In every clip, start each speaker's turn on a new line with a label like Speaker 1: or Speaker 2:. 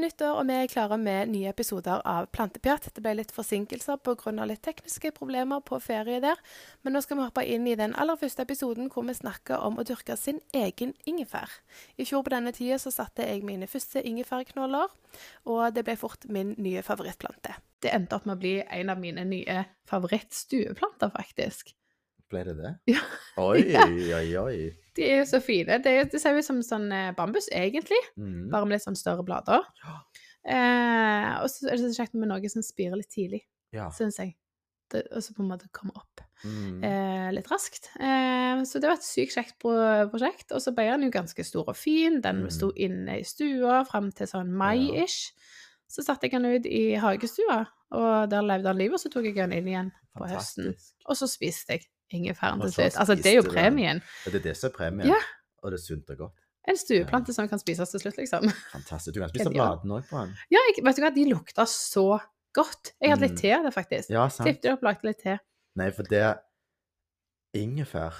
Speaker 1: nyttår, og vi er klare med nye episoder av Plantepjatt. Det ble litt forsinkelser pga. litt tekniske problemer på ferie der, men nå skal vi hoppe inn i den aller første episoden hvor vi snakker om å dyrke sin egen ingefær. I fjor på denne tida så satte jeg mine første ingefærknoller, og det ble fort min nye favorittplante. Det endte opp med å bli en av mine nye favorittstueplanter, faktisk.
Speaker 2: Ble det det?
Speaker 1: Ja.
Speaker 2: Oi,
Speaker 1: Ja.
Speaker 2: oi, oi.
Speaker 1: De er jo så fine. Det, er- det ser ut som sånn eh, bambus, egentlig.
Speaker 2: Mm.
Speaker 1: bare med litt sånn større blader. Eh, og så er det så kjekt med noe som spirer litt tidlig,
Speaker 2: Ja.
Speaker 1: syns jeg. Det, og så på en måte komme opp
Speaker 2: Mm.
Speaker 1: eh, litt raskt. Eh, så det var et sykt kjekt pro- prosjekt. Og så ble den jo ganske stor og fin. Den
Speaker 2: Mm.
Speaker 1: sto inne i stua fram til sånn mai-ish. Så satte jeg den ut i hagestua, og der levde han livet. Og så tok jeg den inn igjen, på høsten.
Speaker 2: Fantastisk.
Speaker 1: og så spiste jeg ingefæren
Speaker 2: Og
Speaker 1: til
Speaker 2: så
Speaker 1: slutt. Altså, det er jo
Speaker 2: spiste du den.
Speaker 1: premien.
Speaker 2: Og det er det som er premien.
Speaker 1: Ja.
Speaker 2: Og det er sunt og godt.
Speaker 1: En stueplante som kan spises til slutt, liksom.
Speaker 2: Fantastisk. Du kan spise
Speaker 1: Genial.
Speaker 2: bladene òg på den.
Speaker 1: Ja, jeg, vet du hva, de lukta så godt. Jeg hadde litt
Speaker 2: Mm.
Speaker 1: te av det, faktisk.
Speaker 2: Ja,
Speaker 1: Ja.
Speaker 2: sant.
Speaker 1: du opp, lagde litt te.
Speaker 2: Nei, for det Ingefær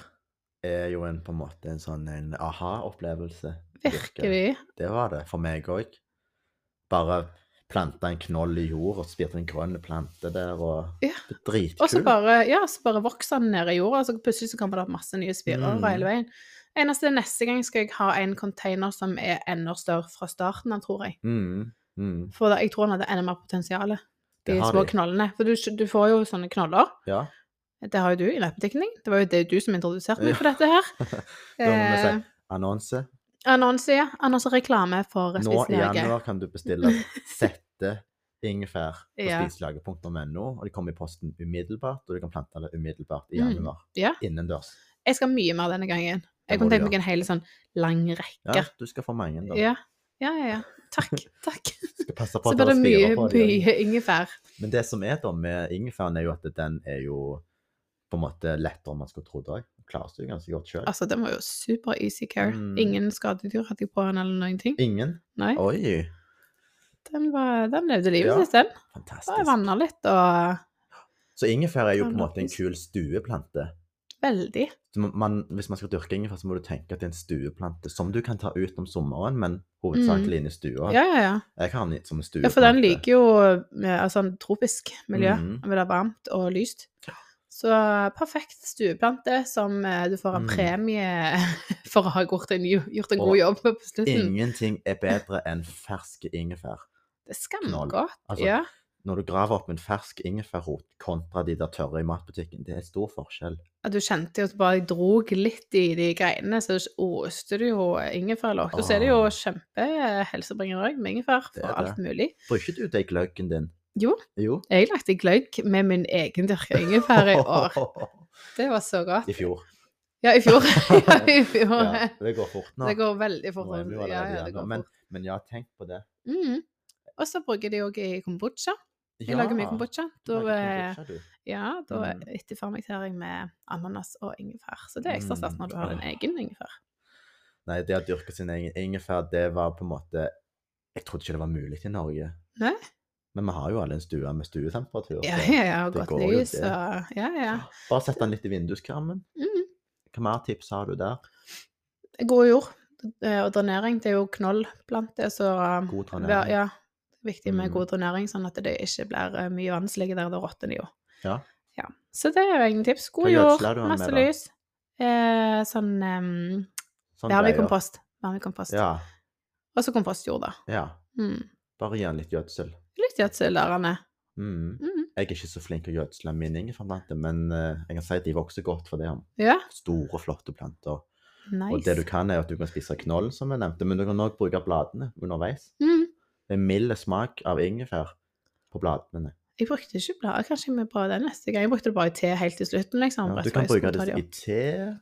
Speaker 2: er jo en på en måte en sånn en aha-opplevelse. Virker.
Speaker 1: Virkelig.
Speaker 2: Det var det for meg òg. Bare plante en knoll i jord og spirte en grønn plante der, og
Speaker 1: Ja.
Speaker 2: det er dritkult.
Speaker 1: Og så bare, ja, så bare vokser den ned i jorda, og så plutselig så kommer det opp masse nye spirer
Speaker 2: Mm.
Speaker 1: hele veien. Eneste neste gang skal jeg ha en container som er enda større fra starten av, tror jeg.
Speaker 2: Mm, mm.
Speaker 1: For da, jeg tror den hadde enda mer potensial, de
Speaker 2: Det har
Speaker 1: små
Speaker 2: de.
Speaker 1: knollene. For du, du får jo sånne knoller.
Speaker 2: Ja.
Speaker 1: Det har jo du i nettbutikken din. Det var jo det du som introduserte meg
Speaker 2: Ja.
Speaker 1: for dette her. Eh,
Speaker 2: Da må vi si annonse.
Speaker 1: annonse, ja. Annonse reklame for
Speaker 2: Nå
Speaker 1: Spis
Speaker 2: i
Speaker 1: Norge.
Speaker 2: januar kan du bestille sette ingefær på
Speaker 1: Ja.
Speaker 2: spiselaget.no, og de kommer i posten umiddelbart, og du kan plante det umiddelbart i
Speaker 1: Mm,
Speaker 2: januar.
Speaker 1: ja.
Speaker 2: Innendørs.
Speaker 1: Jeg skal mye mer denne gangen.
Speaker 2: Det
Speaker 1: Jeg
Speaker 2: må
Speaker 1: kunne
Speaker 2: du
Speaker 1: tenkt meg en hel sånn lang rekke.
Speaker 2: Ja, du skal få mange, da.
Speaker 1: Ja, ja, ja. ja. Takk. takk.
Speaker 2: Skal passe på
Speaker 1: Så
Speaker 2: at
Speaker 1: blir det mye,
Speaker 2: spirer på de.
Speaker 1: mye ingefær.
Speaker 2: Men det som er da med ingefæren, er jo at den er jo på en måte lettere enn man skulle trodd òg. Klarer seg jo ganske godt sjøl.
Speaker 1: Altså, den var jo super easy care.
Speaker 2: Mm.
Speaker 1: Ingen skadedyr hadde jeg på den eller noen ting.
Speaker 2: Ingen?
Speaker 1: Nei,
Speaker 2: Oi!
Speaker 1: den, var, den levde livet
Speaker 2: Ja.
Speaker 1: sitt, den. Bare
Speaker 2: Fantastisk.
Speaker 1: vanna litt og
Speaker 2: Så ingefær er jo på en
Speaker 1: Vannet
Speaker 2: måte en
Speaker 1: fisk.
Speaker 2: kul stueplante.
Speaker 1: Veldig.
Speaker 2: Så man- man, hvis man skal dyrke ingefær, så må du tenke at det er en stueplante som du kan ta ut om sommeren, men hovedsakelig inn i
Speaker 1: Mm.
Speaker 2: stua.
Speaker 1: Ja, ja, ja.
Speaker 2: Jeg har den litt som en stueplante.
Speaker 1: ja for den liker jo eh, altså, en tropisk miljø.
Speaker 2: Mm.
Speaker 1: Hvor det er varmt og lyst. Så eh, perfekt stueplante som eh, du får en
Speaker 2: Mm.
Speaker 1: premie for å ha gjort en, jo- gjort en
Speaker 2: Og
Speaker 1: god jobb med på slutten.
Speaker 2: Ingenting er bedre enn fersk ingefær.
Speaker 1: Det er
Speaker 2: Knoll.
Speaker 1: skamgodt.
Speaker 2: Altså,
Speaker 1: Ja.
Speaker 2: Når du graver opp en fersk ingefærrot kontra de der tørre i matbutikken, det er stor forskjell.
Speaker 1: at du kjente jo at du bare drog litt i de greiene, så oste du jo ingefærlokk. Og så er det jo
Speaker 2: Åh.
Speaker 1: kjempehelsebringende òg med ingefær
Speaker 2: Ah. Det
Speaker 1: for
Speaker 2: er
Speaker 1: alt
Speaker 2: det.
Speaker 1: mulig.
Speaker 2: Bruker du det i gløggen din?
Speaker 1: Jo.
Speaker 2: Jo.
Speaker 1: Jeg lagde gløgg med min egen dyrka ingefær i år. Det var så godt.
Speaker 2: I fjor.
Speaker 1: Ja, i fjor. ja, i fjor.
Speaker 2: Ja, det går fort nå.
Speaker 1: Det går veldig fort.
Speaker 2: Nå er vi jo
Speaker 1: rundt. Ja,
Speaker 2: allerede i
Speaker 1: ja, det
Speaker 2: januar,
Speaker 1: går
Speaker 2: men,
Speaker 1: fort.
Speaker 2: men ja, tenk på det.
Speaker 1: Mm. Og så bruker de òg i kombucha. Jeg
Speaker 2: Ja,
Speaker 1: lager mye kombucha.
Speaker 2: du
Speaker 1: Da,
Speaker 2: lager
Speaker 1: eh,
Speaker 2: kombucha, du.
Speaker 1: ja, da
Speaker 2: Mm.
Speaker 1: etterfermentering med ananas og ingefær. Så det er ekstra stas
Speaker 2: Mm.
Speaker 1: når du har din egen ingefær.
Speaker 2: Nei, det å dyrke sin egen ingefær, det var på en måte Jeg trodde ikke det var mulig i Norge.
Speaker 1: Nei.
Speaker 2: Men vi har jo alle en stue med stuetemperatur.
Speaker 1: Ja,
Speaker 2: så
Speaker 1: ja, ja, og
Speaker 2: det
Speaker 1: godt
Speaker 2: går jo
Speaker 1: lys
Speaker 2: det.
Speaker 1: og Ja, ja.
Speaker 2: Bare sett den litt i vinduskarmen.
Speaker 1: Mm.
Speaker 2: Hva mer tips har du der?
Speaker 1: God jord eh, og drenering, det er jo knollplante, så eh,
Speaker 2: God
Speaker 1: vær-
Speaker 2: drenering.
Speaker 1: ja, viktig med
Speaker 2: Mm.
Speaker 1: god drenering, sånn at det ikke blir eh, mye vanskelig der det råtner jo.
Speaker 2: Ja.
Speaker 1: ja. Så det er jo egen tips. God
Speaker 2: Hva
Speaker 1: jord,
Speaker 2: gjødsler du den med,
Speaker 1: masse
Speaker 2: da?
Speaker 1: lys. Eh, sånn um,
Speaker 2: Sånn greier.
Speaker 1: vermekompost. Vermekompost.
Speaker 2: Ja,
Speaker 1: Og så kompostjord, da.
Speaker 2: ja.
Speaker 1: Mm.
Speaker 2: Bare gi den litt gjødsel.
Speaker 1: Litt gjødsel der han er.
Speaker 2: Mm.
Speaker 1: Mm.
Speaker 2: Jeg er ikke så flink til å gjødsle min ingefærplante, men eh, jeg kan si at de vokser godt, for det er
Speaker 1: Ja,
Speaker 2: store, flotte planter.
Speaker 1: nice.
Speaker 2: Og det du kan, er at du kan spise knoll, som jeg nevnte, men du kan òg bruke bladene underveis.
Speaker 1: mm.
Speaker 2: Det er mild smak av ingefær på bladene.
Speaker 1: Jeg brukte ikke blader, kanskje vi prøver det neste gang. Jeg brukte det bare i te helt til slutten. liksom.
Speaker 2: Ja,
Speaker 1: rett
Speaker 2: du
Speaker 1: før
Speaker 2: kan
Speaker 1: jeg skulle
Speaker 2: bruke
Speaker 1: ta
Speaker 2: det
Speaker 1: de
Speaker 2: i
Speaker 1: opp.
Speaker 2: te,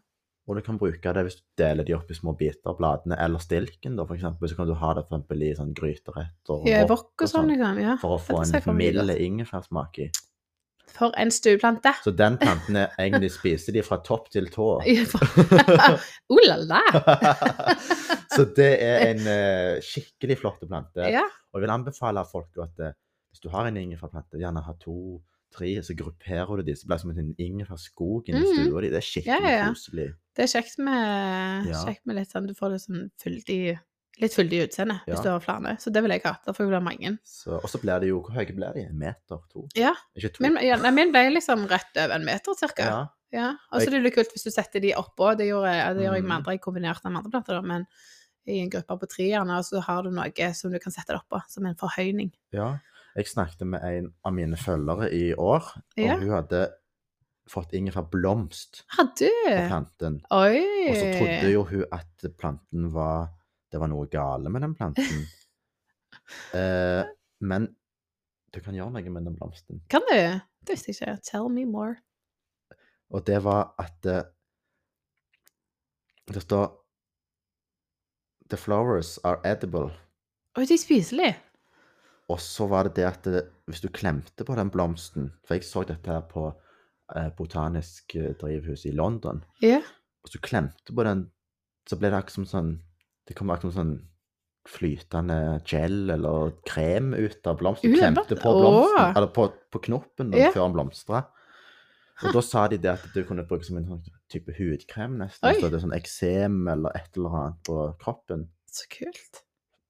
Speaker 2: og du kan bruke det hvis du deler de opp i små biter, bladene eller stilken, da, for eksempel. Så kan du ha det for eksempel i sånn gryteretter
Speaker 1: Ja, i
Speaker 2: wok
Speaker 1: wok og sånn, liksom. Ja.
Speaker 2: for å få
Speaker 1: Dette ser jeg for
Speaker 2: en
Speaker 1: meg
Speaker 2: mild
Speaker 1: godt.
Speaker 2: ingefærsmak i.
Speaker 1: For en stueplante!
Speaker 2: Så den planten er egentlig spiser de fra topp til tå.
Speaker 1: Oh la la!
Speaker 2: Så det er en eh, skikkelig flott plante.
Speaker 1: Ja,
Speaker 2: Og jeg vil anbefale folk at eh, hvis du har en ingefærplante, gjerne ha to, tre, så grupperer du de, så blir det som en ingefærskog inni
Speaker 1: Mhm.
Speaker 2: stua di. Det er skikkelig
Speaker 1: Ja, ja, ja.
Speaker 2: koselig.
Speaker 1: det er kjekt med,
Speaker 2: Ja.
Speaker 1: kjekt med litt sånn Du får litt sånn fyldig litt fyldig utseende
Speaker 2: Ja.
Speaker 1: hvis du har flere. Så det vil jeg ha. Da får jeg bli mange.
Speaker 2: Så, og så blir det jo Hvor høye blir de? En meter? To?
Speaker 1: Ja.
Speaker 2: Ikke to.
Speaker 1: Min, ja, nei, min ble liksom rett over en meter, cirka.
Speaker 2: ja.
Speaker 1: Ja, og så er det litt kult hvis du setter de oppå. Det gjorde jeg, det gjør jeg
Speaker 2: Mm.
Speaker 1: med andre. Jeg kombinerte dem med andre planter, da, men i en gruppe på tre gjerne, og så har du noe som du kan sette det oppå, som en forhøyning.
Speaker 2: ja. Jeg snakket med en av mine følgere i år, og
Speaker 1: Ja.
Speaker 2: hun hadde fått ingefærblomst
Speaker 1: Har du?
Speaker 2: på planten.
Speaker 1: Oi!
Speaker 2: Og så trodde jo hun at planten var Det var noe gale med den planten. eh, men du kan gjøre noe med den blomsten.
Speaker 1: Kan du? Det visste jeg ikke. Tell me more.
Speaker 2: Og det var at eh, Det står The flowers are edible.
Speaker 1: Oi, de er spiselige.
Speaker 2: Og så var det det at det, hvis du klemte på den blomsten For jeg så dette her på eh, botanisk eh, drivhus i London.
Speaker 1: Ja.
Speaker 2: Og så klemte på den, så ble det akkurat som sånn Det kom akkurat som sånn flytende gel eller krem ut av blomsten.
Speaker 1: Ulempet.
Speaker 2: Klemte på blomsten,
Speaker 1: Åh.
Speaker 2: eller på, på knoppen da,
Speaker 1: Ja.
Speaker 2: før den blomstra.
Speaker 1: Ha.
Speaker 2: Og da sa de det at du kunne bruke som en sånn type hudkrem, nesten.
Speaker 1: Oi.
Speaker 2: Så det er sånn eksem eller et eller annet på kroppen.
Speaker 1: Så kult.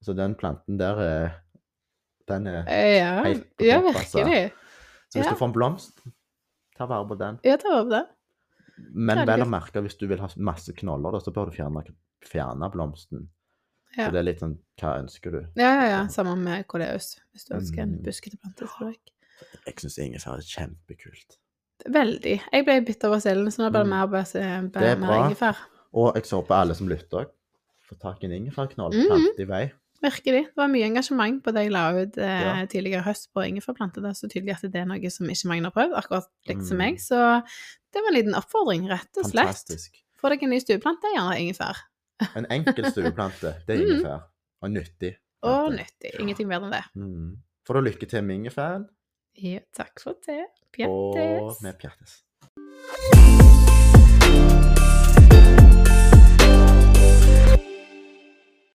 Speaker 2: Så den planten der er Den er
Speaker 1: Eh, Ja,
Speaker 2: Helt på
Speaker 1: ja
Speaker 2: topp, altså.
Speaker 1: virkelig.
Speaker 2: Så hvis
Speaker 1: ja.
Speaker 2: du får en blomst, ta vare på den.
Speaker 1: Ja, det var det.
Speaker 2: Men
Speaker 1: Ja, det er
Speaker 2: vel å merke, hvis du vil ha masse knoller, da, så bør du fjerne, fjerne blomsten.
Speaker 1: Ja.
Speaker 2: Så det er litt sånn Hva ønsker du?
Speaker 1: Ja, ja, ja. Sammen med koleus, hvis du ønsker en
Speaker 2: Mm.
Speaker 1: buskete plante. så er det ikke.
Speaker 2: Jeg syns ingefær er kjempekult.
Speaker 1: Veldig. Jeg ble bitt over selen, så nå blir det
Speaker 2: Mm.
Speaker 1: mer, bæ-
Speaker 2: Det er
Speaker 1: bæ- mer
Speaker 2: bra.
Speaker 1: ingefær.
Speaker 2: Og jeg så på alle som lytter òg. Få tak i en ingefærknoll,
Speaker 1: Mhm.
Speaker 2: plante i vei.
Speaker 1: Virkelig. Det var mye engasjement på det jeg la ut eh,
Speaker 2: Ja.
Speaker 1: tidligere i høst på ingefærplante. Det er så tydelig at det er noe som ikke mange har prøvd, akkurat likt som
Speaker 2: Mm.
Speaker 1: meg. Så det var en liten oppfordring, rett og slett.
Speaker 2: Fantastisk.
Speaker 1: Få deg en ny stueplante, gjerne ingefær.
Speaker 2: En enkel stueplante, det er
Speaker 1: Mhm.
Speaker 2: ingefær. Og nyttig.
Speaker 1: Og
Speaker 2: plante.
Speaker 1: nyttig. Ingenting bedre enn det.
Speaker 2: Mhm. Får du lykke til med ingefæren,
Speaker 1: Ja, takk for det.
Speaker 2: og
Speaker 1: Pjattes.
Speaker 2: med pjattes.